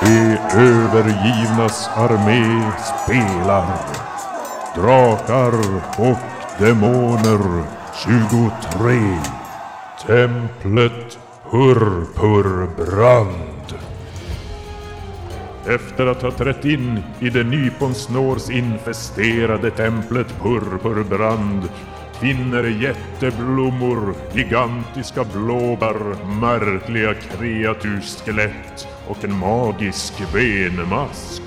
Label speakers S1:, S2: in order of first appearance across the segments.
S1: De övergivnas armé spelar. Drakar och demoner 23. Templet Purpurbrand. Efter att ha trätt in i det nyponsnårs infesterade templet Purpurbrand finner jätteblommor, gigantiska blåbär, märkliga kreatursskelett och en magisk benmask.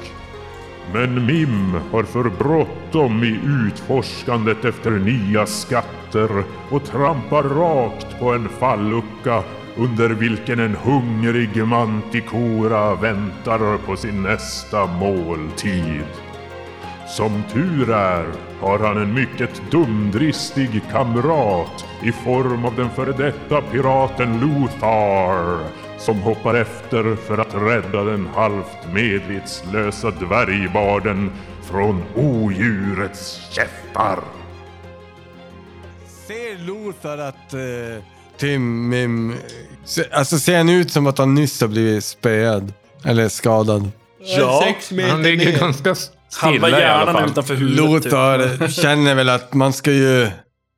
S1: Men Mim har för bråttom i utforskandet efter nya skatter och trampar rakt på en fallucka under vilken en hungrig mantikora väntar på sin nästa måltid. Som tur är har han en mycket dumdristig kamrat i form av den före detta piraten Lothar som hoppar efter för att rädda den halvt medvetslösa dvärgbarden från odjurets käftar.
S2: Ser Lothar att eh, Tim Mim... se- Alltså ser han ut som att han nyss har blivit spöad? Eller skadad?
S3: Ja,
S4: Sex meter
S3: han ligger
S4: ner.
S3: ganska stilla
S4: Halva
S3: i alla
S4: hjärnan
S3: fall.
S4: utanför huvudet. typ.
S2: Lothar känner väl att man ska ju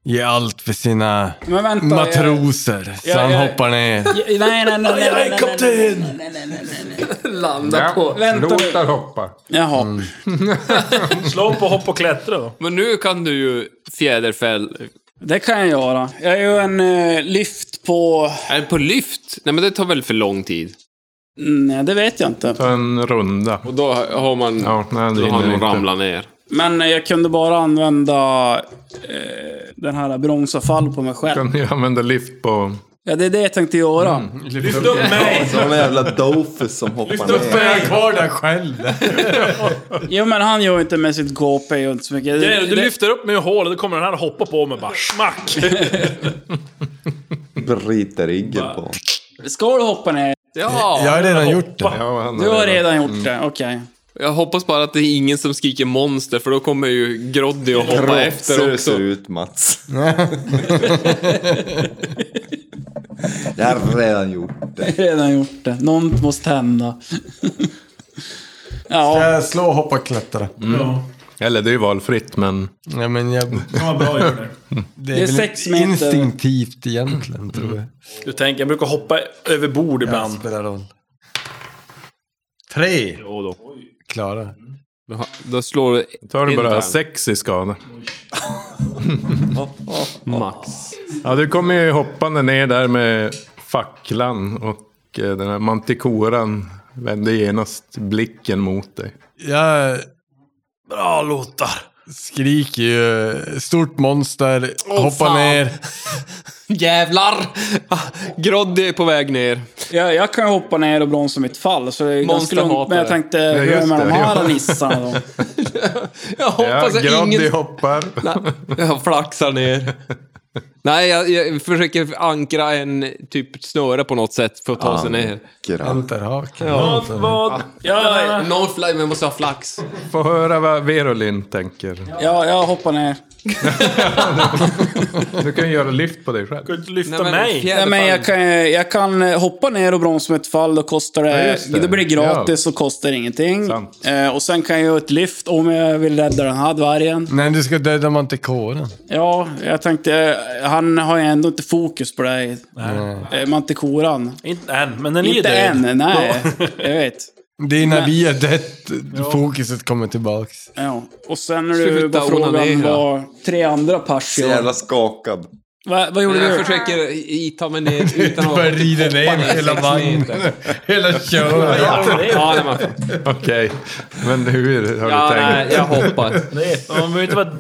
S2: ge allt för sina
S5: Men vänta, jag-
S2: matroser. Så
S5: jag-
S2: han
S5: jag-
S2: hoppar ner.
S5: Nej, nej, nej, nej,
S4: Jag är
S5: nej,
S4: kapten!
S5: nej, nej, nej, nej, nej.
S6: Landa
S3: Ja,
S6: på.
S5: Vänta nu.
S3: Lothar hoppar. Mm.
S5: Jaha.
S4: Slå på hopp och klättra då.
S6: Men nu kan du ju fjäderfäll...
S5: Det kan jag göra. Jag gör en eh, lyft på...
S6: Är det äh, på lyft? Nej men det tar väl för lång tid?
S5: mm, Nej, det vet jag inte.
S3: Ta en runda.
S6: Och då har man...
S3: Ja, nej,
S6: då har
S3: det hinner
S6: man
S3: inte.
S6: ramlat ner.
S5: Men eh, jag kunde bara använda eh, den här bronsavfall på mig själv.
S3: Kan Mm. ni använda lift på...
S5: Ja, det är det jag tänkte göra.
S4: Lyft upp mig!
S7: Som en jävla dofus som hoppar
S2: Då
S7: ner.
S2: är jag kvar där själv.
S5: Jo, men han gör ju inte med sitt gap är ju inte så mycket.
S4: Grejen är, Du
S5: Det-
S4: lyfter upp mig ur hålet, då kommer den här hoppa på mig bara smack!
S7: Bryter ryggen på.
S5: Ska du hoppa ner?
S6: Ja!
S2: Jag har redan gjort det.
S3: Ja, han
S5: Du har redan gjort det, okej.
S6: Jag hoppas bara att det är ingen som skriker monster för då kommer ju Groddy att hoppa
S7: Så
S6: efter
S7: det
S6: också.
S7: ser ut Mats. Jag har redan gjort det.
S5: redan gjort det. Något måste hända. ja,
S2: Jag slår, hoppa, klättra.
S4: Ja,
S3: Eller det är ju valfritt, men...
S2: Mm. Ja, men jag,
S4: ja bra gör det.
S2: det, är
S5: Det är
S2: väl
S5: sex meter. Mm.
S2: instinktivt egentligen, tror jag.
S4: Du tänker, jag brukar hoppa över bord
S2: Det
S4: ibland.
S2: spelar roll. Tre
S4: Jo då.
S2: klara.
S6: Då har- Då slår du
S3: Då har du bara
S6: Intern.
S3: sex i skada.
S6: max.
S3: Ja, du kommer ju hoppande ner där med facklan och eh, den här mantikoran vände genast blicken mot dig.
S2: Jag... Bra Lothar! Skriker ju. Stort monster. hoppar
S6: fan.
S2: ner.
S6: Jävlar! Ah, Groddy är på väg ner.
S5: jag, jag kan ju hoppa ner och bromsa mitt fall, så det är ganska
S6: Monster
S5: lugnt.
S6: hatar
S5: Men jag
S6: det.
S5: tänkte,
S3: Ja,
S5: hur är det
S3: just
S5: med de
S3: det,
S5: här
S3: ja.
S5: nissarna då?
S6: Jag
S3: Ja,
S6: hoppas att
S3: Groddy
S6: ingen...
S3: hoppar.
S6: Jag flaxar ner. Nej, jag, jag försöker ankra en typ snöre på något sätt för att ta sig ner.
S7: Grann.
S2: Enterhaken.
S4: Vad, vad? Ja,
S6: No fly, men måste ha flax.
S3: Få höra vad Verolin tänker.
S5: Ja, jag hoppar ner.
S3: Du kan ju göra lyft på dig själv.
S4: du kan inte
S6: Nej,
S4: lyfta
S6: men
S4: mig.
S5: Nej,
S6: fjäderfall.
S5: men jag kan, jag kan hoppa ner och bromsa mitt fall, då kostar
S3: Ja,
S5: det...
S3: just
S5: det.
S3: det.
S5: blir gratis och kostar ingenting.
S3: Sant.
S5: Eh, och sen kan jag göra ett lyft om jag vill rädda den här dvärgen.
S2: Nej, du ska döda mantikoran.
S5: Ja, jag tänkte, eh, han har ju ändå inte fokus på dig. Eh, Mantikoran.
S4: Inte än, men den är ju
S5: Inte
S4: död.
S5: än, nej. Jag vet.
S2: Det är när vi har dött fokuset kommer tillbaks.
S5: Ja, och sen när du
S6: Sluta
S5: var frågan
S6: onanera.
S5: var tre andra pers
S7: Så
S5: jag-
S7: jävla skakad.
S5: Va, Vad gjorde
S6: Jag
S5: du?
S6: försöker i- ta mig ner utan
S2: Bara rider ner
S6: hoppa
S2: hela
S6: sex meter.
S2: vagnen. Hela köret.
S4: Ja, det är-
S6: Ja, nej, men,
S3: Okej, men hur har
S6: ja,
S3: du
S6: nej,
S3: tänkt?
S6: jag hoppar.
S4: det är- Man behöver inte vara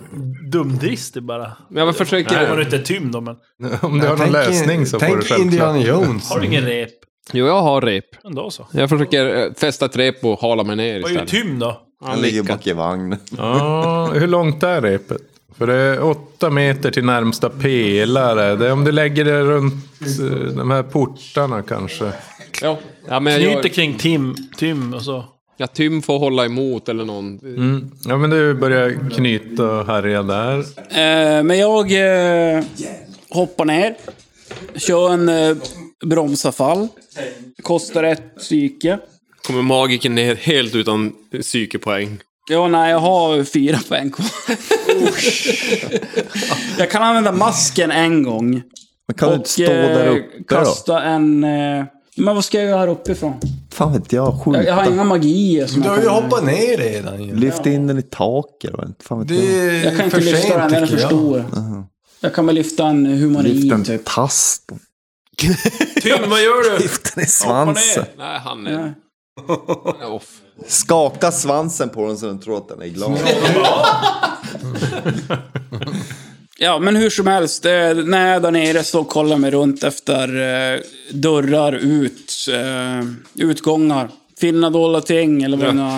S4: dumdristig bara.
S6: Men jag
S4: Om man
S6: försöker...
S4: inte är tym då, men...
S3: Om du har någon
S2: Tänk-
S3: lösning så får
S2: Tänk
S3: du självklart.
S2: Indiana Jones.
S4: Har du ingen rep?
S6: Jo, jag har rep.
S4: Men då så.
S6: Jag försöker eh, fästa ett rep och hala mig ner
S4: Vad är ju
S6: istället.
S4: tym då?
S7: Han ligger bak i vagnen.
S3: Ja, hur långt är repet? För det är åtta meter till närmsta pelare. Det är om du lägger det runt eh, de här portarna kanske.
S6: Jo. Ja, men jag,
S4: Knyter
S6: gör,
S4: kring Tim, Tim och så.
S6: jag Tym får hålla emot eller någon.
S3: Mm. Ja, men du börjar knyta och härja där.
S5: Eh, men jag eh, hoppar ner. Kör en eh, bromsavfall. Kostar ett psyke.
S6: Kommer magiken ner helt utan psykepoäng.
S5: Jo, nej, jag har fyra poäng kvar. jag kan använda masken en gång.
S7: Men kan du inte stå där
S5: eh,
S7: uppe då?
S5: kasta en... Eh, men vad ska jag göra här uppifrån?
S7: Fan vet jag, skjuta.
S5: Jag, jag har inga magier som
S2: Du har
S5: jag
S2: ju
S5: kan...
S2: hoppat ner redan ju.
S7: Lyft in den i taket. va? Fan vet
S2: Det
S7: jag.
S2: är
S5: Jag kan inte
S2: för
S5: lyfta den,
S2: sent
S5: den är för
S2: tycker jag.
S5: stor. Jag kan väl lyfta en
S7: Lyft
S5: humanin
S7: den
S5: typ.
S7: typ. tass. då.
S6: Tim, vad gör du?
S7: Lyft den i svansen.
S6: Nej, han är... Han är off.
S7: Skaka svansen på den så den tror att den är glad.
S5: Ja, men hur som helst. Eh, när jag är där nere så kollar jag mig runt efter eh, dörrar ut. Eh, utgångar. Finna dolda ting eller vad det nu är.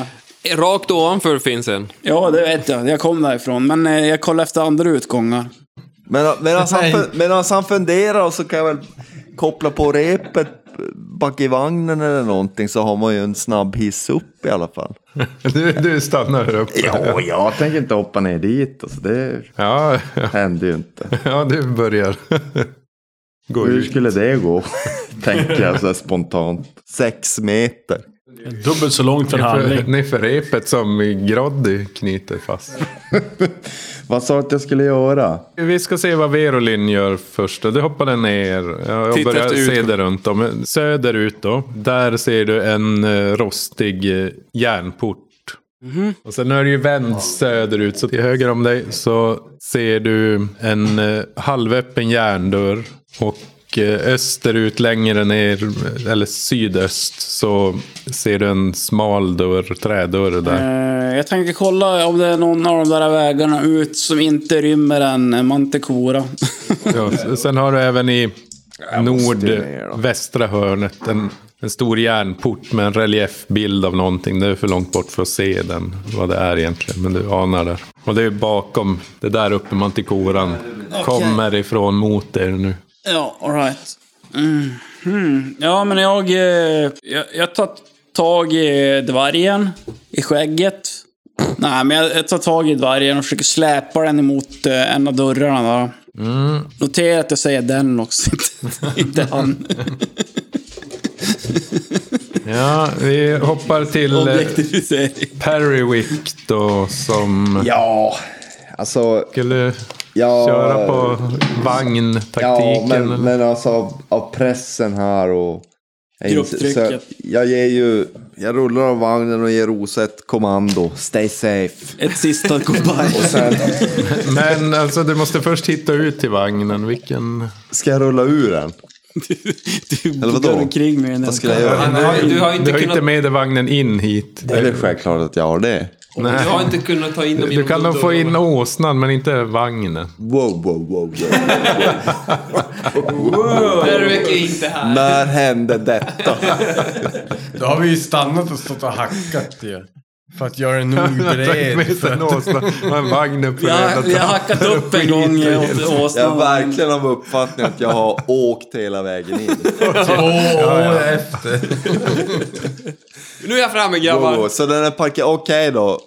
S6: Eh, Rakt ovanför finns en.
S5: Ja, det vet jag. Jag kom därifrån. Men eh, jag kollar efter andra utgångar.
S7: Men medan han, fun- medans han funderar så kan jag väl koppla på repet bak i vagnen eller någonting så har man ju en snabb hiss upp i alla fall.
S3: Du, du stannar här uppe.
S7: Ja, jag tänker inte hoppa ner dit. Alltså, det
S3: Ja, ja,
S7: händer ju inte.
S3: ja du börjar. Gå
S7: Hur
S3: ut.
S7: skulle det gå? tänker jag så här spontant. Sex meter.
S4: Dubbelt så långt för en handling.
S3: Ni för repet som Groddy knyter fast.
S7: Vad sa du att jag skulle göra?
S3: Vi ska se vad Verolin gör först. Du hoppade ner. Jag
S6: Titta
S3: börjar
S6: efter
S3: se
S6: utgång.
S3: det runt om. Söderut då. Där ser du en eh, rostig eh, järnport. Och sen är det ju vänd söderut. Så till höger om dig så ser du en eh, halvöppen järndörr. Och eh, österut längre ner, eller sydöst, så ser du en smal dörr, trädörr där.
S5: Eh, jag tänker kolla om det är någon av de där vägarna ut som inte rymmer en eh, mantikora.
S3: Ja, s- sen har du även i nordvästra hörnet en, en stor järnport med en reliefbild av någonting. Det är för långt bort för att se den, vad det är egentligen. Men du anar där. Och det är bakom, det där uppe Mantikoran kommer ifrån mot er nu.
S5: ja, alright. Mm. Hmm. Ja, men jag, eh, jag... Jag tar tag i dvärgen. I skägget. Nej, men jag, jag tar tag i dvärgen och försöker släpa den emot eh, en av dörrarna där.
S7: Mm.
S5: Notera att jag säger den också, inte- inte han.
S3: Ja, vi hoppar till eh,
S5: Objektivisering.
S3: Perrywick då som
S7: Ja, alltså...
S3: skulle
S7: Ja,
S3: köra på
S7: Ja,
S3: vagntaktiken.
S7: men,
S3: eller?
S7: men alltså av, av pressen här och... jag ins-
S5: Grupptrycket.
S7: så Jag ger ju... Jag rullar av vagnen och ger Rosa ett kommando. Stay safe.
S5: Ett sista goodbye.
S7: Och sen
S3: men alltså du måste först hitta ut till vagnen. Vilken...
S7: ska jag rulla ur den.
S5: Du
S7: vadå?
S5: går omkring med den.
S7: Vad skulle jag göra?
S6: Du har, du har
S3: Du
S6: inte
S3: har inte
S6: kunnat...
S3: med dig vagnen in hit.
S7: Det är väl självklart att jag har det.
S6: Du har inte kunnat ta in dem
S3: Du
S6: genom
S3: kan nog få
S6: dörrarna.
S3: in åsnan men inte vagnen.
S7: Wow, wow, wow, wow.
S6: Berwick är inte här.
S7: När hände detta?
S2: Då har vi ju stannat och stått och hackat ju. För att göra den nog bred.
S3: Med
S2: för
S3: en
S2: att-
S3: åsna och en vagn på
S5: Jag, jag har
S3: ja.
S5: hackat upp en gång eh, åt
S7: Jag är
S5: åsnan.
S7: verkligen av uppfattningen att jag har åkt hela vägen in.
S2: Två år efter.
S6: Nu är jag framme
S7: Wow, wow.
S6: grabbar.
S7: Oh, Så den är parkerad. Okej då.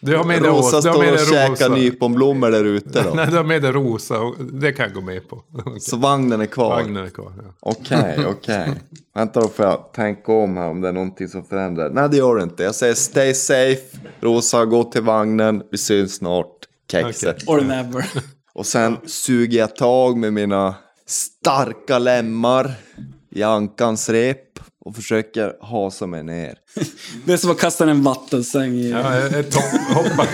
S3: Du har med dig
S7: Rosa
S3: ås- du har
S7: står
S3: med
S7: och
S3: dig rosa.
S7: käkar nyponblommor där ute då.
S3: Nej, du har med dig rosa. och Det kan jag gå med på.
S7: Så vagnen är kvar.
S3: Vagnen är kvar. Ja.
S7: Okej, okej. Vänta då får jag tänka om här om det är någonting som förändrar. Nej det gör det inte. Jag säger stay safe. Rosa, gå till vagnen. Vi syns snart. Kexet.
S5: Or never.
S7: Och sen suger jag tag med mina starka lemmar i ankans rep och försöker hasa mig ner.
S5: Det är som att kasta en vattensäng i...
S3: Ja, ett hopp, hoppa.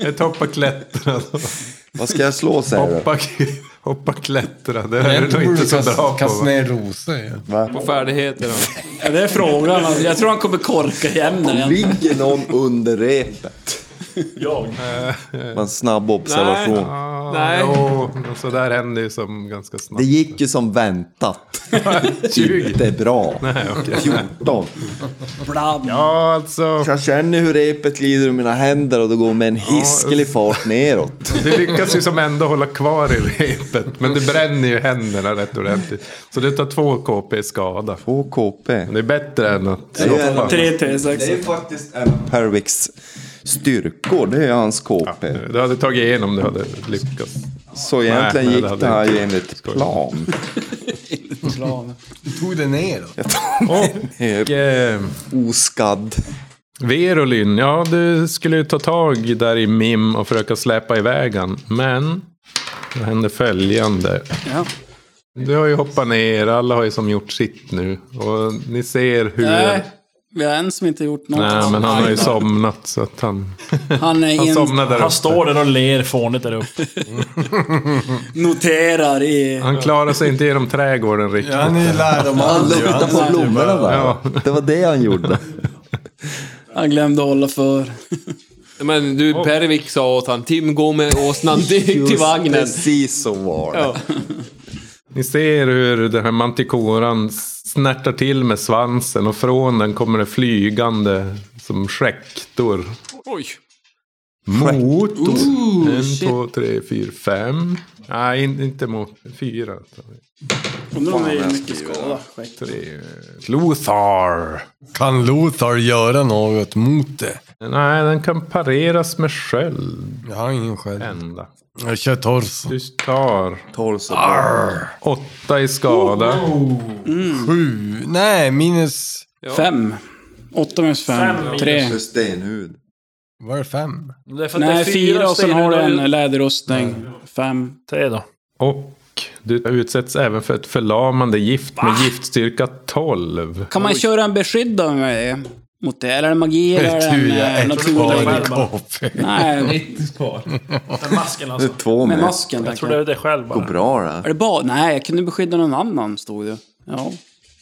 S3: ett hoppa klättra. då.
S7: Vad ska jag slå säger du?
S3: Hoppa, hoppa klättra. Det är du nog inte så bra på.
S2: Kasta
S3: va?
S2: ner rosor ju.
S6: På färdigheter. då.
S5: Ja, det är frågan. alltså. Jag tror han kommer korka igen den. igen.
S7: Ligger någon under repet? Jag? En snabb observation.
S3: Ah,
S6: Nej.
S3: Jo, så där händer ju som ganska
S7: Det
S3: snabbt.
S7: gick ju som väntat.
S3: 20.
S7: Inte bra. 14.
S5: Blam.
S3: Ja, alltså.
S7: Jag känner hur repet glider ur mina händer och det går med en hiskelig fart neråt.
S3: Du lyckas ju som ändå hålla kvar i repet. Men du bränner ju händerna rätt ordentligt. Så du tar två KP i skada.
S7: På KP.
S3: Men Det är bättre än att
S7: är ju
S3: hoppa.
S5: Tre, tre, sex.
S7: Det är faktiskt en Perwicks styrkor. Det är hans KP.
S3: Du hade tagit igenom om du hade lyckats.
S7: Så egentligen
S3: Nej,
S7: gick
S3: nej, det
S7: det här
S3: hade
S7: ju
S3: jag inte.
S7: enligt
S3: Skoj.
S7: plan.
S5: plan.
S2: Tog det ner då?
S7: Helt
S3: Eh,
S7: oskadd.
S3: Verolyn, ja du skulle ju ta tag där i Mim och försöka släpa iväg han. Men då hände följande.
S5: Ja.
S3: Du har ju hoppat ner, alla har ju som gjort sitt nu. Och ni ser hur...
S5: Nej, vi har en som inte gjort något.
S3: Nej, men han har ju somnat så att han...
S5: Han är
S3: Han
S5: in,
S3: somnade där
S4: Han
S3: uppe.
S4: står där och ler fånigt där uppe.
S5: noterar i...
S3: Han klarar sig inte genom trädgården riktigt.
S2: Ja, han är ju lärd om allt ju. Han
S7: på blommorna va?
S3: Ja.
S7: Det var det han gjorde.
S5: Han glömde hålla för.
S6: Men du, Pervik sa åt han, Tim gå med åsnan direkt till
S7: Just
S6: vagnen.
S7: Precis så var det.
S6: Ja.
S3: Ni ser hur den här mantikoran snärtar till med svansen och från den kommer det flygande som skäktor.
S6: Oj.
S3: Motor. en, två, tre, fyra, fem. Nej, in, inte mot. Fyra.
S5: Undrar om det är mycket skada.
S3: Tre. Lothar.
S2: Kan Lothar göra något mot det?
S3: Nej, den kan pareras med sköld.
S2: Jag har ingen skäl.
S3: Ända.
S2: Jag kör torso.
S3: Du tar
S7: Torso.
S3: åtta i skada.
S2: Sju. Nej, minus...
S5: Fem. Åtta minus fem.
S4: Fem
S5: Tre.
S7: För stenhud.
S2: Var det fem?
S4: Det är för att det är
S5: Nej, fyra och sen har du
S4: stenhuvuden.
S5: en läderrustning. Fem.
S4: Tre då.
S3: Och du utsätts även för ett förlamande gift med giftstyrka 12.
S5: Kan man köra en beskyddad med mig mot det? Eller är det magi? Eller är
S2: Tur
S5: det
S2: jag
S5: en, eh,
S2: är kvar i
S5: naturlig?
S2: KP.
S5: Nej,
S4: Med masken
S7: Det är
S4: alltså.
S7: två
S5: med
S7: med.
S5: masken.
S4: Jag tror
S5: tänker
S4: det
S5: jag.
S4: är det själv
S7: Går
S4: bara.
S7: bra det.
S5: Är det bara? Nej, jag kunde beskydda någon annan, stod det. Ja.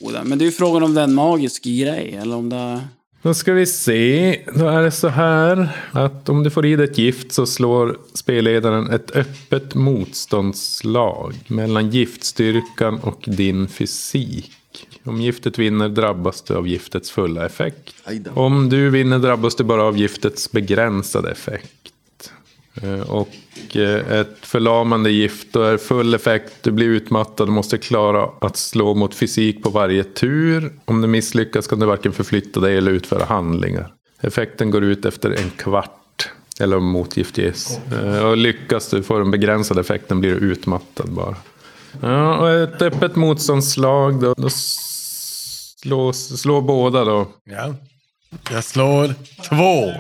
S5: Och det- Men det är ju frågan om det är en magisk grej, eller om det är...
S3: Då ska vi se. Då är det så här att om du får i dig ett gift så slår spelledaren ett öppet motståndslag mellan giftstyrkan och din fysik. Om giftet vinner drabbas du av giftets fulla effekt.
S7: Aj då.
S3: Om du vinner drabbas du bara av giftets begränsade effekt. Eh, Och eh, ett förlamande gift då är full effekt. Du blir utmattad och måste klara att slå mot fysik på varje tur. Om du misslyckas kan du varken förflytta dig eller utföra handlingar. Effekten går ut efter en kvart. Eller om motgift ges. Eh, Och lyckas du får den begränsade effekten blir du utmattad bara. Ja, och ett öppet motståndslag då. då s- slås, slå båda då.
S2: Ja. Jag slår två.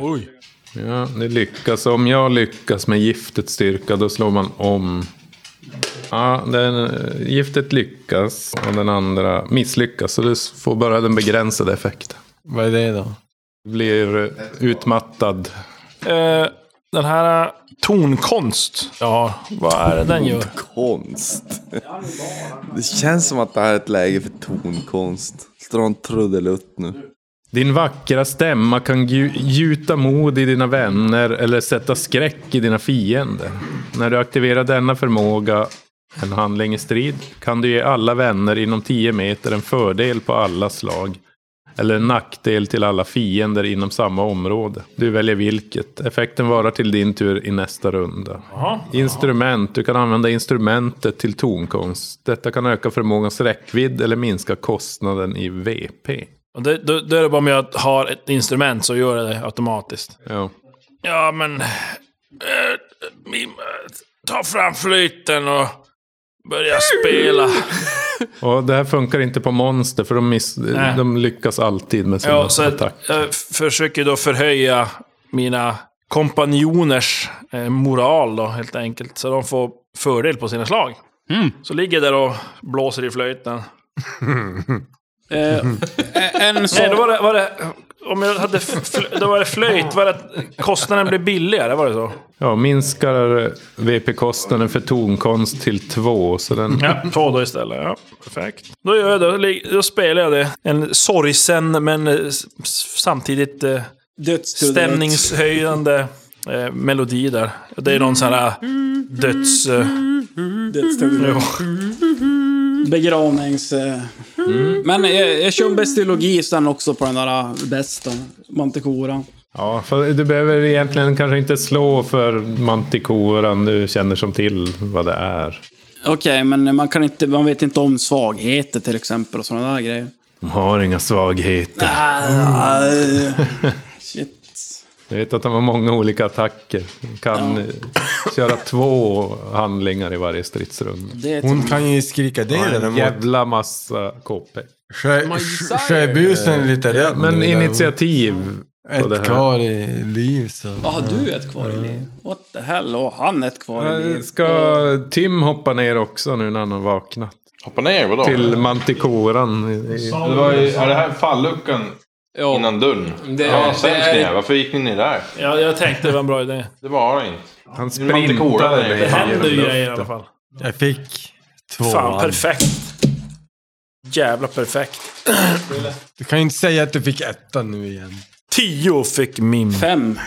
S3: Ja, det lyckas. Om jag lyckas med giftets styrka, då slår man om. Ja, den, eh, giftet lyckas och den andra misslyckas. Så du s- får bara den begränsade effekten.
S2: Vad är det då?
S3: Du blir eh, utmattad.
S4: Eh, Den här eh, tonkonst. Ja, vad är det den gör?
S7: Konst. Det känns som att det här är ett läge för tonkonst. Dra en trudelutt nu.
S3: Din vackra stämma kan gju- gjuta mod i dina vänner eller sätta skräck i dina fiender. När du aktiverar denna förmåga, en handling i strid, kan du ge alla vänner inom 10 meter en fördel på alla slag. Eller en nackdel till alla fiender inom samma område. Du väljer vilket. Effekten varar till din tur i nästa runda. Instrument. Du kan använda instrumentet till tonkonst. Detta kan öka förmågans räckvidd eller minska kostnaden i VP.
S4: Och det- Då då är det bara om jag har ett instrument så gör jag det automatiskt.
S3: Ja.
S4: Ja, men... eh, mim, eh, Ta fram flöjten och börja spela.
S3: Och det här funkar inte på monster för de, miss,
S4: Nej.
S3: de lyckas alltid med sina
S4: Ja, så att
S3: attack.
S4: jag f- försöker då förhöja mina kompanjoners eh, moral då, helt enkelt. Så de får fördel på sina slag. Så ligger jag där och blåser i flöjten.
S5: Eh, en
S4: Nej, då
S5: sak...
S4: var det... Var det om jag hade f- fl- då var det flöjt. Var det att kostnaden blev billigare? Var det så?
S3: Ja, minskar VP-kostnaden för tonkonst till två. Så den,
S4: Ja, två då istället. Ja, perfekt. Då gör jag det. Då lig- Då spelar jag det. En sorgsen men eh, s- s- samtidigt eh,
S5: Dödstrudelutt.
S4: stämningshöjande eh, melodi där. Det är någon sån här döds... Eh,
S5: Dödstrudelutt.
S2: Mm.
S5: Begravnings... eh. Men eh, jag, jag kör en bestiologi sen också på den där eh, besten. Manticoran.
S3: ja, för du behöver egentligen kanske inte slå för mantikoran. Du känner som till vad det är.
S5: Okej, men man kan inte... Man vet inte om svagheter till exempel och sådana där grejer.
S2: Mm.
S3: De har inga svagheter.
S5: Ah, Shit.
S3: Jag vet att de har många olika attacker. De kan eh, köra två handlingar i varje stridsrunda.
S5: Det är
S2: Hon kan ju skrika det
S3: En
S2: däremot.
S3: jävla massa KP.
S2: Sjö- Sjöbusen är lite rädd.
S3: Men
S2: nu där.
S3: initiativ på det
S2: Ett
S3: här.
S2: kvar i liv så.
S5: Ja, har du ett kvar i liv? What the hell? Och han ett kvar i
S3: Eh,
S5: liv?
S3: Ska Tim hoppa ner också nu när han har vaknat?
S8: Hoppa ner, vadå?
S3: Till Mantikoran. i- i-
S8: Det var ju, är det här falluckan
S6: Ja.
S8: innan dörren?
S6: Det-
S8: ja,
S6: det
S8: sämst
S6: är-
S8: ni är. Varför gick ni ner där?
S4: Ja, jag tänkte det var en bra idé.
S8: Det var det inte.
S3: Han
S8: Mantikoran
S3: sprintade.
S8: är ju-
S3: ner.
S4: Det händer ju grejer i alla fall.
S2: Jag fick två.
S4: Fan, perfekt. Jävla perfekt.
S2: Du kan ju inte säga att du fick etta nu igen.
S4: Tio fick Mim.
S5: Fem.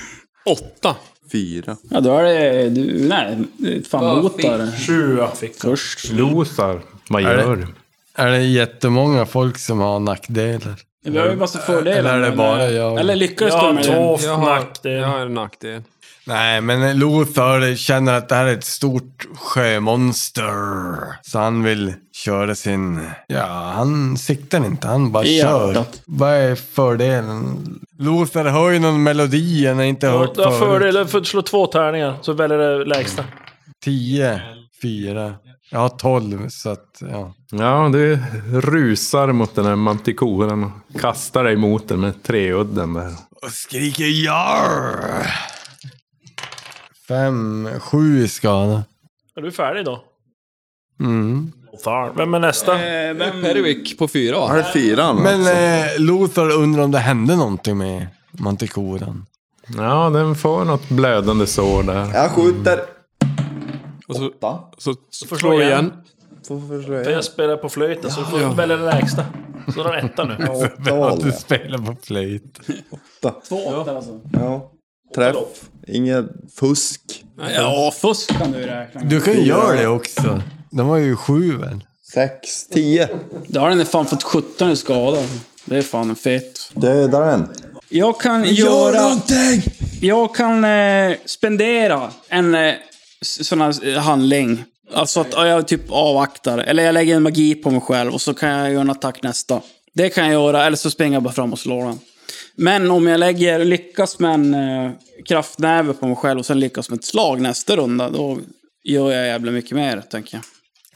S6: Åtta.
S7: Fyra.
S5: Ja, då är det... Du, nej, det är fan
S6: Vad
S5: botar.
S4: Sjua fick han.
S5: Först.
S3: Losar. Vad
S2: Är det-
S3: gör du?
S2: Är det jättemånga folk som har nackdelar?
S5: Vi har ju massa fördelar.
S2: Eller är det
S5: men- eh,
S2: bara jag?
S5: Eller lyckades
S4: Jag
S5: du
S4: har
S5: med det?
S4: två nackdel.
S6: Jag har en nackdel.
S2: Nej, men Lothar känner att det här är ett stort sjömonster. Så han vill köra sin... Ja, han siktar inte. Han bara
S5: I
S2: kör.
S5: hjärtat.
S2: Vad är fördelen? Lothar hör ju någon melodi han inte hört
S4: Du har
S2: förut.
S4: fördel, du får slå två tärningar, så väljer det lägsta.
S2: Tio, fyra. Jag har tolv, så att... Ja.
S3: Ja, du rusar mot den här Mantikoran och kastar dig mot den med treudden där.
S2: Och skriker jar! Fem, sju i skada.
S4: Är du färdig då?
S2: Mm.
S4: Fan. Vem är nästa?
S5: Eh,
S4: Mm.
S5: Vem...
S6: Perwick på fyra.
S7: Var
S6: va?
S7: det fyran
S2: Men
S7: alltså?
S2: eh, Lothar undrar om det hände någonting med Mantikoran.
S3: Ja, den får något blödande sår där.
S7: Jag skjuter.
S6: Och så,
S7: Åtta.
S6: så
S4: får
S6: slår
S4: slå
S6: du
S4: igen.
S6: igen.
S4: Jag spelar på flöjten, så du får välja det lägsta. Så du har etta nu.
S7: Åttal.
S2: Du spelar på flöjt.
S5: Två åttor alltså.
S7: Ja. Träff. Inget fusk.
S5: Ja, fusk kan du räkna med.
S2: Du kan ju göra det också. De var ju sju väl?
S7: Sex. Tio.
S5: Då har den fan fått 17 i skada. Det är fan fett.
S7: Döda den.
S5: Jag kan göra... Jag kan eh, spendera en eh, s- sån här eh, handling. Alltså att ja, jag typ avvaktar. Eller jag lägger en magi på mig själv och så kan jag göra en attack nästa. Det kan jag göra, eller så springer jag bara fram och slår den. Men om jag lägger, lyckas med en eh, kraftnäve på mig själv och sen lyckas med ett slag nästa runda, då gör jag jävla mycket mer, tänker jag.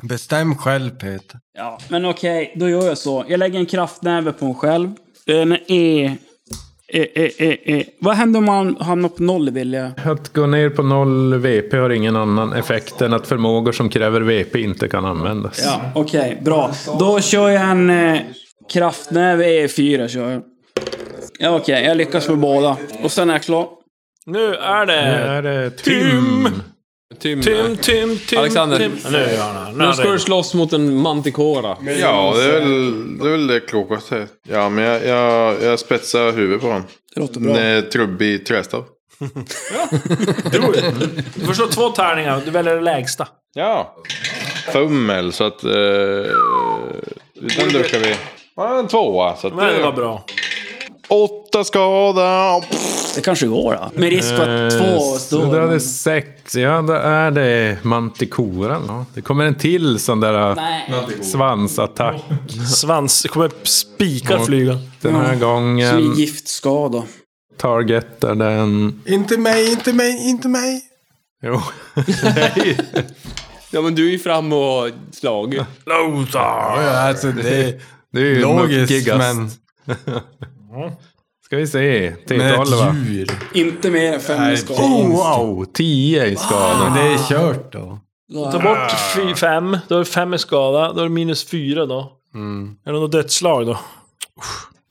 S2: Bestäm själv Peter.
S5: Ja, men okej, då gör jag så. Jag lägger en kraftnäve på mig själv. En e... E, e, e, e. Vad händer om man hamnar på noll vill jag?
S3: Att gå ner på noll VP har ingen annan effekt än att förmågor som kräver VP inte kan användas.
S5: Ja, okej, bra. Då kör jag en eh, kraftnäve E4. Kör jag. Ja, okej, jag lyckas med båda. Och sen är jag klar.
S4: Nu är
S3: Nu
S4: det...
S3: är det Tim.
S6: Tim.
S4: Tim, Tim, Tim,
S6: Alexander.
S4: Tim. Ja, Nu gör han det. Nu
S6: Nu
S4: är
S6: ska du
S4: det.
S6: slåss mot en mantikora.
S8: Ja, det är väl det, är väl det klokaste. Typ. Ja, men jag, jag, jag spetsar huvudet på honom.
S5: Det låter bra.
S8: Med trubbig trästav.
S4: Du får slå två tärningar, du väljer det lägsta.
S8: Ja. Fummel, så att... Eh, den duckar vi. Ja, En tvåa. Så att, eh,
S4: Men det var
S8: det-
S4: bra.
S8: åtta skada.
S5: Det kanske går då. Med risk för att två
S3: Eh, Så
S5: står.
S3: du hade sex. Ja, då är det Mantikoran. Ja. Det kommer en till sån där äh,
S5: Nej.
S3: svansattack.
S4: Svans... Det kommer spikar flyga.
S3: Den här
S5: Som
S3: gången
S5: är giftskada.
S3: targetar den...
S2: Inte mig, inte mig, inte mig.
S3: Jo.
S6: Ja, men du är ju fram och slag.
S2: Ja, ja, alltså det
S3: Det är ju
S2: är logiskt
S3: muckigast.
S2: men...
S3: Ska vi se.
S2: Men
S3: T12 va?
S2: ett djur.
S5: Inte mer än fem i skada.
S3: Oh, wow! 10 i skada.
S2: Men det är kört då.
S4: Ta bort fy, fem, då är det fem i skada. Då är det minus fyra då. Är det något dödsslag då?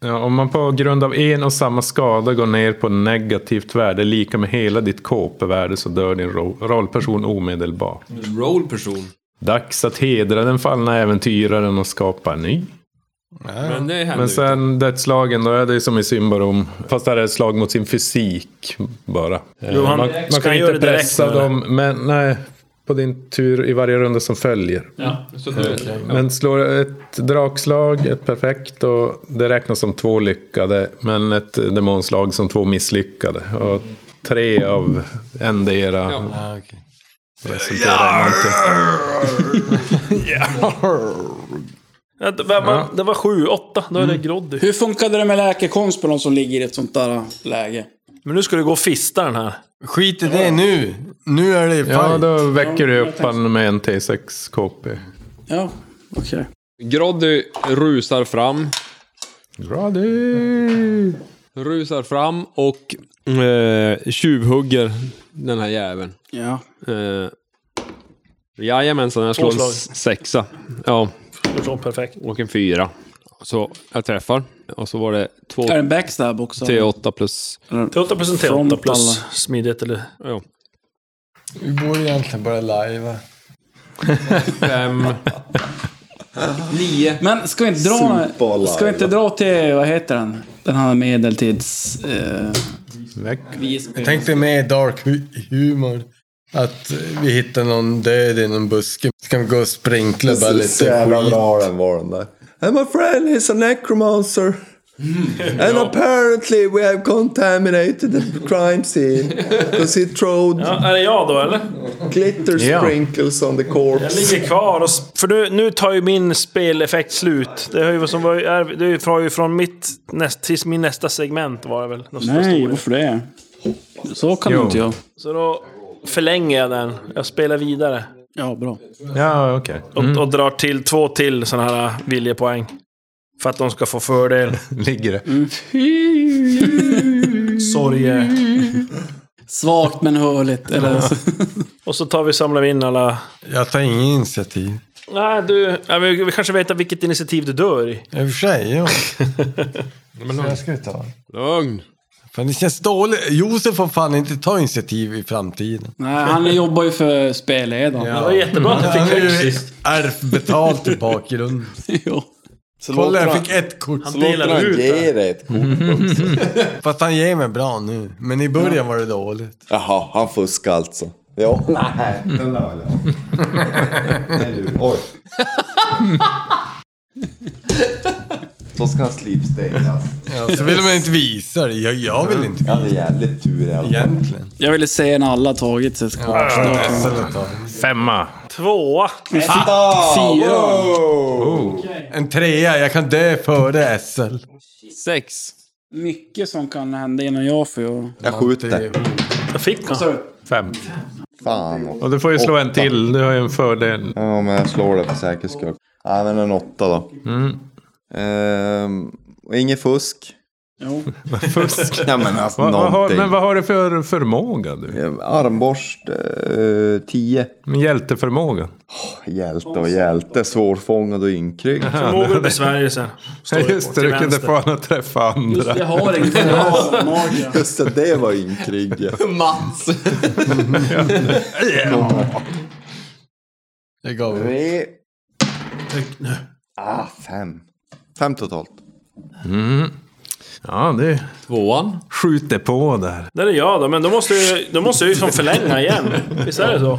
S3: Ja, om man på grund av en och samma skada går ner på negativt värde lika med hela ditt KP-värde så dör din ro- rollperson omedelbart.
S6: Rollperson.
S3: Dags att hedra den fallna äventyraren och skapa en ny.
S6: Men det händer
S3: Men
S6: ju.
S3: sen dödslagen, då är det ju som i Symbarom. Fast det här är ett slag mot sin fysik bara. Eh,
S4: han-
S3: man
S4: ska
S3: man kan
S4: han göra
S3: inte
S4: det direkt
S3: pressa
S4: nu, eller?
S3: dem, men nej. På din tur i varje runda som följer. Eh,
S6: Så du-
S3: Men slår ett drakslag, ett perfekt, och det räknas som två lyckade. Men ett demonslag som två misslyckade. Och tre av endera
S2: Ah, okej.
S3: resulterar i någonting.
S4: Ja, Det var,
S3: Ja.
S4: det var sju, åtta. Då är det Groddy.
S5: Hur funkade det med läkekonst på de som ligger i ett sånt där läge?
S4: Men nu ska du gå och fista den här.
S2: Skit i det nu. Nu är det
S3: Ja,
S2: fight.
S3: då väcker du upp han med en T6 KP.
S5: Ja, okej.
S6: Groddy rusar fram.
S3: Bra du!
S6: Rusar fram och eh, tjuvhugger den här jäveln.
S5: Ja.
S6: Eh, jajamensan, jag slår en
S4: Påslag.
S6: s- sexa. Ja,
S4: Du slår perfekt.
S6: och en fyra. Så jag träffar. Och så var det två
S5: Är det en backstab också?
S6: T8 plus...
S4: T8 plus en T8
S5: Frontal.
S4: plus smidighet eller...
S6: Ja.
S2: Vi borde egentligen börja live.
S6: Fem... Nio.
S5: Men ska vi inte dra...
S7: Superlive.
S5: Ska vi inte dra till, vad heter den? Den här medeltids... Eh,
S2: Jag tänkte med dark hu- humor. Att vi hittar någon död i någon buske. Så kan vi gå och sprinkla bara lite
S7: Så jävla
S2: skit.
S7: bra den var den där. I'm a friend, he's a necromancer.
S6: Mm.
S7: And apparently we have contaminated the crime scene. Because he throwed
S4: Ja, är det jag då eller?
S7: glitter sprinkles on the
S4: Jag
S7: corpse.
S4: ligger kvar och... sp- För nu, nu tar ju min speleffekt slut. Det har ju som var, är, det är ju från, från mitt... Näst, till min nästa segment var det väl? Något så
S5: nej,
S4: stor.
S5: varför det? Så kan du inte göra.
S4: Så då förlänger jag den. Jag spelar vidare.
S5: Ja, bra.
S3: Ja, okej.
S4: Och, och drar till två till sådana här äh, viljepoäng. För att de ska få fördel.
S3: Ligger det.
S4: Sorge.
S5: Svagt men hörligt. Eller,
S4: Och så tar vi samlar vi in alla...
S2: Jag tar ingen initiativ.
S4: Nej, du... Ja, vi, vi kanske vet vilket initiativ du dör i.
S2: I och för sig, ja. Men jag ska vi ta.
S6: Lugn.
S2: Fan, det känns dåligt. Josef får fan inte ta initiativ i framtiden.
S5: nej, han jobbar ju för spelledaren.
S4: Det var jättebra att du
S2: Han
S4: fick
S2: har
S4: högst
S2: ju
S4: sist.
S2: ärvbetalt i bakgrunden.
S5: Jo.
S2: Kolla, jag fick ett kort.
S4: Han delar ut det.
S7: Ge dig ett kort.
S2: Fast han ger mig bra nu. Men i början var det dåligt.
S7: Jaha, han fuskar alltså. Ja. Nej, den där var jag. Oj. Så ska han slipstekas.
S2: Ja, så vill man inte visa det. Jag, jag vill inte
S7: Jag hade jävligt tur i alla fall.
S2: egentligen.
S5: Jag ville se när alla tagit sitt kort. Ja.
S3: Femma.
S4: Tvåa.
S7: Ah,
S5: Fyra.
S2: En trea. Jag kan dö före SL.
S6: Sex.
S5: Mycket som kan hända innan jag får...
S7: Jag skjuter.
S4: Jag fick han.
S3: Fem.
S7: Fan också.
S3: Och du får ju slå en till. Du har ju en fördel.
S7: Ja, men jag slår det för säkerhets skull. Ja, men en åtta då.
S3: Mm.
S7: Ehm, och inget fusk.
S5: Jo.
S3: Fusk.
S7: Ja, men alltså
S3: Vad- vad har-
S7: någonting.
S3: men vad har du för förmåga du?
S7: Eh, Armborst, eh, tio.
S3: Hjälteförmåga?
S7: Hjälte och hjälte, svårfångad och ynkrygg.
S4: Förmågor och besvärjelser. Står det på,
S3: Just det,
S4: till
S3: du kunde
S4: vänster.
S3: få honom att träffa andra.
S5: Jag har inget magen.
S7: Just det, det var ynkrygg. ja.
S6: Mats.
S2: Jag gav upp.
S7: Tre. Ah, fem. Fem totalt.
S3: Ja, det
S6: Tvåan.
S3: skjuter på där.
S4: Där är jag då, men då måste, ju, då måste jag ju som förlänga igen. Visst är det så?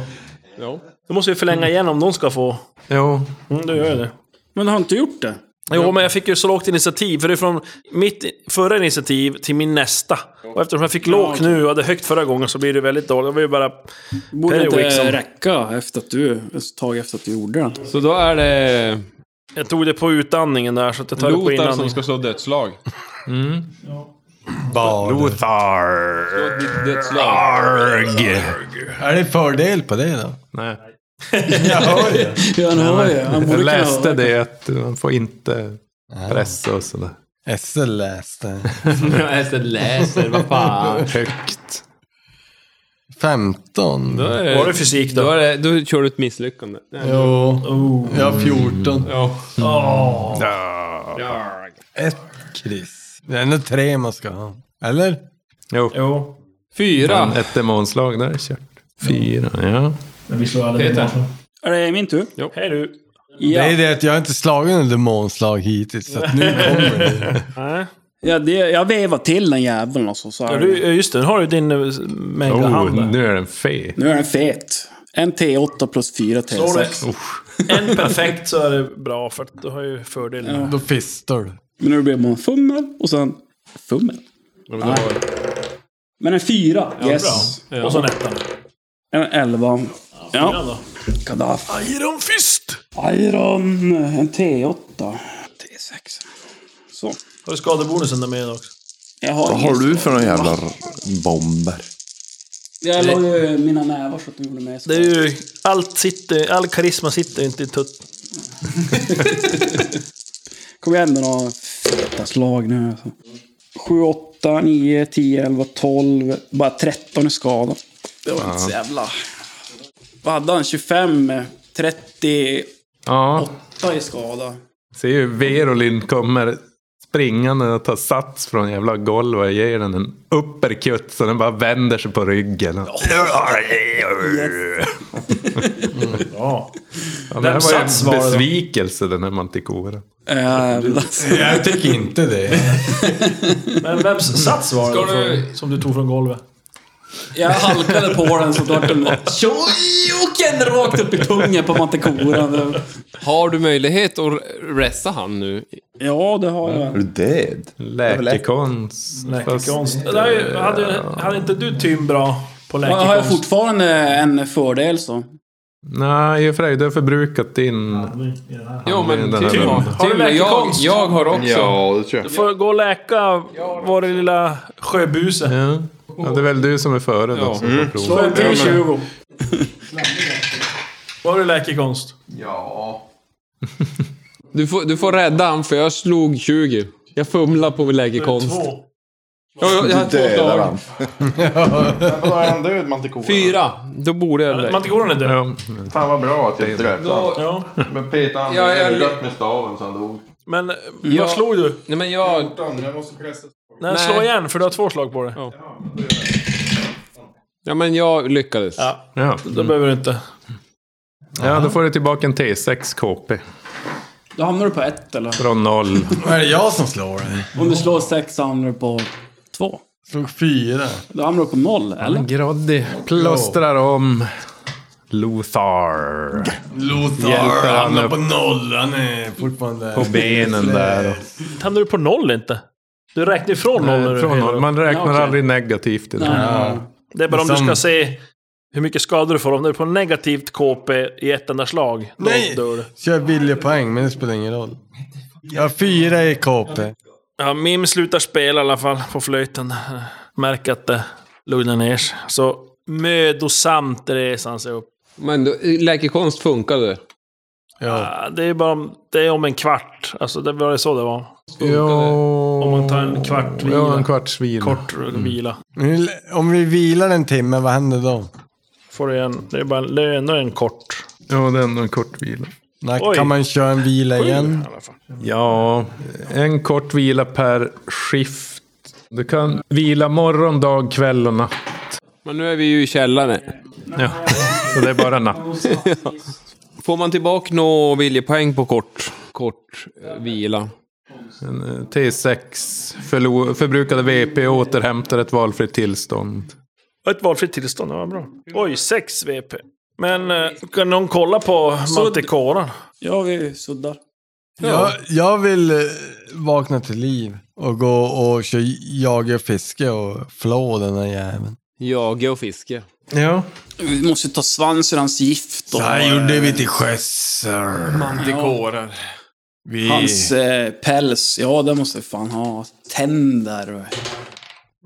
S6: Ja.
S4: Då måste vi förlänga igen om de ska få...
S3: Jo,
S4: Mm, då gör jag det.
S5: Men har inte gjort det?
S4: Jo, men jag fick ju så lågt initiativ. För det är från mitt förra initiativ till min nästa. Och eftersom jag fick lågt nu och hade högt förra gången så blir det väldigt dåligt. Det var ju bara...
S5: Borde
S4: Perry
S5: inte
S4: Wickson.
S5: räcka efter att du... Ett tag efter att du gjorde det.
S6: Så då är det
S4: Jag tog det på utandningen där, så att jag tar det på
S6: Lotar som
S4: inandningen.
S6: ska slå dödslag.
S2: Bard.
S6: Slå ett nytt dödslag.
S2: Är det fördel på det då?
S3: nej.
S5: Ja, han hör ju. Han borde
S3: Jag
S5: kunna
S3: läste
S5: höra.
S3: det att man får inte pressa och sådär.
S2: SL läste.
S6: Jag läser, vad fan.
S3: Högt.
S2: 15.
S6: Då är
S4: Var
S6: det,
S4: det fysik
S6: då,
S4: då?
S6: är det, då kör du ett misslyckande.
S2: Jo. Jag har 14.
S6: Ja.
S2: Ett Chris. Det är ändå tre man ska ha. Eller?
S3: Jo,
S4: Jo.
S6: Fyra.
S3: ett demonslag där är kört. Fyra, ja.
S4: Vi slår aldrig
S6: Peter.
S5: Är det min tur?
S4: Hej du.
S5: Ja.
S2: Det är det att jag har inte slagit något demonslag hittills. Så att nu kommer det.
S4: Nej.
S5: Ja, det, jag vevar till den jäveln alltså. Så
S4: Ja,
S5: här.
S4: du, ja, just det, nu har du din eh, mega hand
S3: Oh,
S4: där.
S3: nu är den fe.
S5: Nu är den fet. En T8 plus 4
S4: Slår
S5: T6.
S4: du en perfekt så är det bra, för att du har ju fördel.
S2: Då fistar du.
S5: Men nu blir man fummel och sen... Fummel? Men en 4. yes.
S4: Och så en etta.
S5: En 11.
S4: Ja
S5: Ja.
S4: då.
S5: Kadaff.
S4: Iron Fist!
S5: Iron. En T8. T6. Så.
S4: Har du skadebonusen där med också?
S5: Jag har
S7: Vad
S5: ingen
S7: har du för
S5: stål.
S7: några jävla r- bomber?
S5: Jag la ju mina nävar så att de gjorde mig så.
S4: Det är ju, allt sitter, all karisma sitter inte i tutt.
S5: Kom igen med några feta slag nu. Alltså. 7, 8, 9, 10, 11, 12. Bara 13 i skada. Det var inte så jävla... Vad hade han? 25, eh, 38
S3: Ja,
S5: i skada.
S3: ser ju Verolin kommer springande och tar sats från jävla golvet och ger den en upperkutt så den bara vänder sig på ryggen.
S4: Mm. Ja.
S3: Ja, men det här var
S4: sats var
S3: ju
S4: det
S3: en
S4: då?
S3: besvikelse den här mantikoren.
S5: Jävlar.
S2: Jag tycker inte det.
S4: Men vems sats var det för, som du tog från golvet?
S5: Jag halkade på den så då vart den bara... Tjojoken! Rakt upp i pungen på mantekoran.
S6: Har du möjlighet att ressa han nu?
S5: Ja, det har jag.
S7: Är du dead?
S3: Läkekonst.
S4: Läkekonst. Det där är ju- Hade, hade inte du Tim bra på
S5: Ja,
S4: läkekonst?
S5: Har jag fortfarande en fördel så?
S3: Nej, i och för sig, du har förbrukat din...
S6: Jo, men
S3: den här
S6: Tim
S3: vännen.
S6: har...
S4: Har du
S6: Tim, jag,
S4: läkekonst?
S6: jag har också.
S8: Ja, det tror jag.
S4: Du får gå och läka vår lilla sjöbuse.
S3: Ja. Ja, det är väl du som är före då
S6: Ja.
S3: som
S4: Mm.
S3: får prova.
S4: Slå en till 20. Var du läkekonst?
S6: Du, får, du får rädda han för jag slog 20. Jag fumlar på lägerkonst.
S4: Två.
S6: Ja, jag, jag har två
S7: Dödar
S6: slag.
S7: han?
S8: Då är han död, Manticore.
S6: Fyra. Då borde jag lägga.
S4: Mantikoran är död.
S3: Ja.
S8: Fan vad bra att jag inte döpte honom.
S4: Ja.
S8: Men petade han
S6: Ja,
S8: ja,
S6: jag-
S8: i ögat med staven så han dog.
S4: Men eh,
S6: Ja.
S4: vad slog du?
S6: Nej, men jag...
S8: Jag måste pressa.
S4: Nej,
S6: Nej.
S4: slå igen för du har två slag på dig.
S6: Ja, men jag lyckades.
S3: Ja.
S4: Då behöver du inte.
S3: ja, då får du tillbaka en T6 KP.
S5: Då hamnar du på ett eller?
S3: Från noll.
S2: Är det jag som slår? det?
S5: Om du slår sex hamnar du på två.
S2: Slog fyra.
S5: Då hamnar du på noll, eller?
S3: Groddy plåstrar om Lothar. Hjälper
S2: Lothar
S3: han
S2: hamnar
S3: upp.
S2: på noll. Han är fortfarande...
S3: På benen där.
S4: Hamnar du på noll inte? Du räknar ifrån noll. när du
S3: Från
S4: helar
S3: noll.
S4: upp.
S3: Man
S5: Ja,
S3: räknar
S5: okej.
S3: aldrig negativt i det. här.
S5: Ja.
S4: Det är bara om
S2: Det är
S4: du ska
S2: som-
S4: se hur mycket skador du får. Om du är på negativt KP i ett enda slag, då
S2: Nej.
S4: dör du.
S2: Kör billig poäng, men det spelar ingen roll. Jag har fyra i KP.
S4: Ja, Mim slutar spela i alla fall på flöjten. Märker att det lugnar ner sig. Så mödosamt reser han sig upp.
S6: Men då, läkekonst funkade.
S2: Ja.
S4: Ja, Det är bara om, det är om en kvart. Alltså det var det så det var. Om man tar en kvart vila.
S3: Ja, en kvarts vila.
S4: Kort vila.
S2: Nu- Om vi vilar en timme, vad händer då?
S4: Får du en, det, är bara, det är ändå en kort.
S3: Ja, det är ändå en kort vila.
S2: När
S4: Oj.
S2: kan man köra en vila igen?
S3: Ja, en kort vila per skift. Du kan vila morgon, dag, kväll och natt.
S6: Men nu är vi ju i källaren.
S3: Ja, så det är bara natt.
S6: Får man tillbaka nå viljepoäng på kort, kort eh, vila?
S3: En, eh, T6, förlo- förbrukade VP, återhämtar ett valfritt tillstånd.
S4: Ett valfritt tillstånd, det var bra. Oj, 6 VP. Men eh, kan någon kolla på Manticoran?
S5: Ja, vi suddar.
S2: Jag, jag vill eh, vakna till liv och gå och köra jaga och fiske och flå den här jäveln.
S6: Jaga och fiske.
S3: Ja,
S5: Vi måste ta svans ur hans gift
S2: Så
S5: och
S2: här gjorde vi till sjöss. sir.
S6: Dekårar.
S2: Vi...
S5: hans eh, päls. Ja, det måste vi fan ha. Tänder och...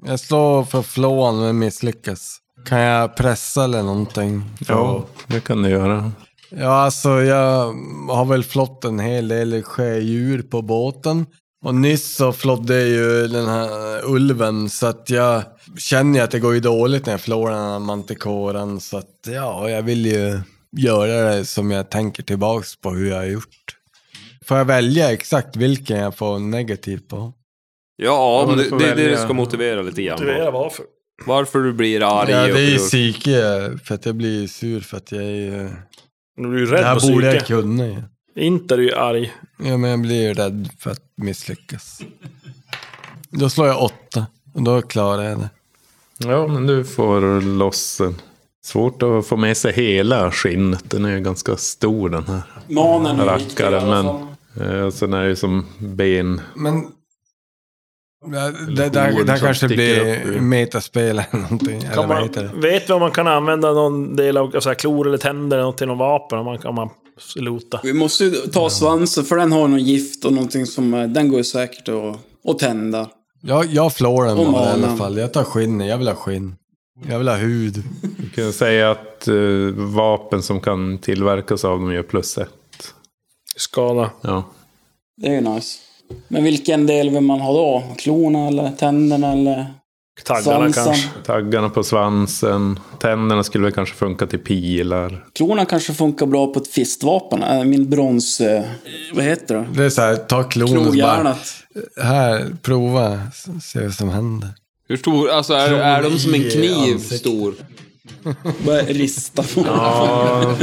S2: Jag slår för flåan men misslyckas. Kan jag pressa eller någonting?
S3: ja det kan du göra.
S2: Ja, alltså jag har väl flott en hel del sjödjur på båten. Och nyss så flodde jag ju den här ulven så att jag känner ju att det går ju dåligt när jag förlorar den här mantikoran. Så att ja, jag vill ju göra det som jag tänker tillbaks på hur jag har gjort. Får jag välja exakt vilken jag får negativt på?
S6: Ja,
S3: men
S6: men
S3: du
S6: det,
S3: får
S6: det, det
S3: välja.
S6: ska motivera lite grann.
S4: Motivera varför.
S6: Varför du blir arg.
S2: ja, det är ju
S6: och-
S2: psyke, för att jag blir ju sur för att jag är ju...
S4: Nu blir du
S2: Det
S4: rädd på
S2: här borde jag
S4: psyke.
S2: kunna ju.
S4: Inte är du ju arg.
S2: Ja, men jag blir ju rädd för att misslyckas. Då slår jag åtta. Och då klarar jag det.
S3: Ja, men du får loss den. Svårt att få med sig hela skinnet. Den är ju ganska stor den här.
S5: Manen är viktig i
S3: Rackare,
S5: alla
S3: men...
S5: fall.
S3: Eh, sen är det ju som ben.
S2: Men... Det, det, där,
S3: ord
S2: där
S3: som
S2: kanske
S3: sticker upp
S2: blir
S3: ur-
S2: metaspel eller någonting. Eller vad
S4: Kan man,
S2: heter det?
S4: vet vi om man kan använda någon del av så här, klor eller tänder eller något till någon vapen? Om man kan man lota.
S5: Vi måste ju ta svansen, för den har någon gift och någonting som... eh, Den går ju säkert att, att tända.
S2: Jag, jag flår den
S5: Och
S2: bara i alla
S5: manen.
S2: fall. Jag tar skinn. Jag vill ha skinn. Jag vill ha hud.
S3: Du kan säga att eh, vapen som kan tillverkas av dem gör plus ett.
S4: Skada.
S3: Ja.
S5: Det är ju nice. Men vilken del vill man ha då? Klorna eller tänderna eller?
S4: Taggarna
S5: Svansen.
S4: kanske.
S3: Taggarna på svansen. Tänderna skulle väl kanske funka till pilar.
S5: Klorna kanske funkar bra på ett fistvapen. Äh, Min brons... Eh, vad heter det?
S2: Det är så här, ta klon och bara...
S5: Knogjärnet.
S2: Här, prova. s- Se vad som händer.
S6: Hur stor, alltså är, är de som en
S2: i
S6: kniv
S2: ansiktet.
S6: stor?
S5: Börja rista på
S3: Ja, eh,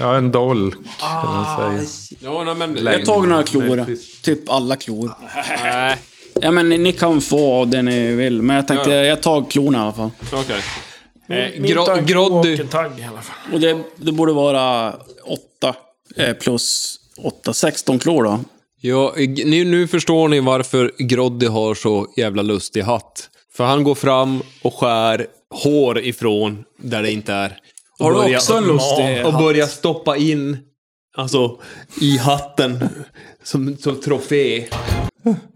S3: ja en dolk kan man säga.
S6: Ja, nej, men...
S5: Jag tog några klor. Typ alla klor.
S6: Nej,
S5: Ja men ni kan få av det ni vill. Men jag tänkte, jag tar klorna i alla fall.
S6: okej. Eh,
S4: Min
S6: gro-
S4: tagg
S6: Groddy.
S4: och en tagg i alla fall.
S5: Och det, det borde vara 8 plus 8, 16 klor då.
S6: Ja, g- nu, nu förstår ni varför Groddy har så jävla lustig hatt. För han går fram och skär hår ifrån där det inte är. Och
S5: Har du också en lustig
S6: Och
S5: hatt?
S6: börjar stoppa in, alltså, i hatten. Som, som trofé.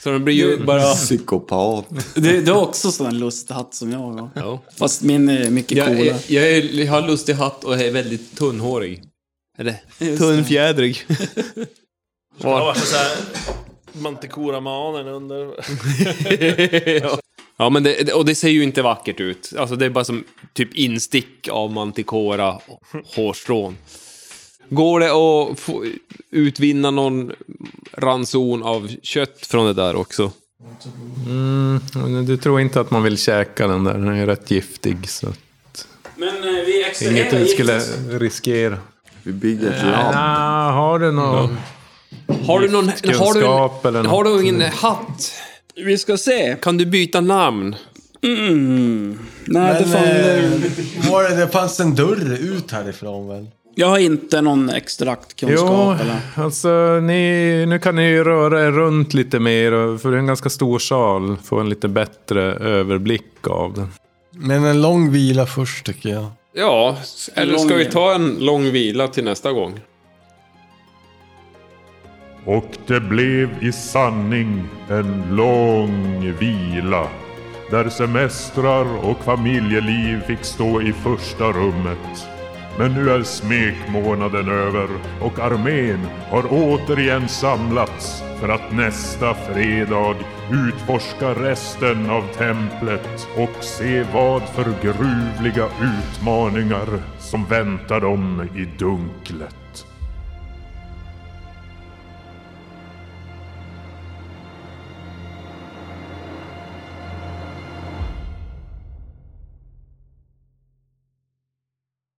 S6: Så den blir
S5: Mm.
S6: ju bara...
S7: Psykopat.
S5: Det, det är också sån här lusthatt som jag har. eh,
S6: Ja.
S5: Fast min är mycket
S6: Jag,
S5: coolare.
S6: jag, jag, är, jag har lustig hatt och är väldigt tunnhårig. Eller
S5: Just det.
S6: tunnfjädrig.
S4: Det var så här Manticora-manen under.
S6: Ja, men det, det- och det ser ju inte vackert ut. Alltså det är bara som typ instick av mantikora och hårstrån. Går det att få utvinna någon ranson av kött från det där också?
S3: Men Du tror inte att man vill käka den där, den är ju rätt giftig. Så
S5: Men eh, vi
S3: inget
S5: extraherar
S3: du
S5: skulle...
S3: skulle riskera.
S7: Vi bygger ett land.
S3: Ah, har du någon
S6: Har du någon... Har du,
S3: kunskap eller något?
S6: har du ingen hatt?
S5: Vi ska se.
S6: Kan du byta namn?
S5: Nej, det
S2: Men,
S5: fan, det-
S2: eh, var det, det fanns en dörr ut härifrån väl?
S5: Jag har inte någon extraktkunskap
S3: Jo,
S5: eller...
S3: alltså ni, nu kan ni ju röra er runt lite mer. och- För det är en ganska stor sal. Få en lite bättre överblick av den.
S2: Men en lång vila först tycker jag.
S6: Ja,
S5: eller ska vi
S6: ta en lång vila till nästa gång?
S1: Och det blev i sanning en lång vila. Där semestrar och familjeliv fick stå i första rummet. Men nu är smekmånaden över och armén har återigen samlats för att nästa fredag utforska resten av templet och se vad för gruvliga utmaningar som väntar dem i dunklet.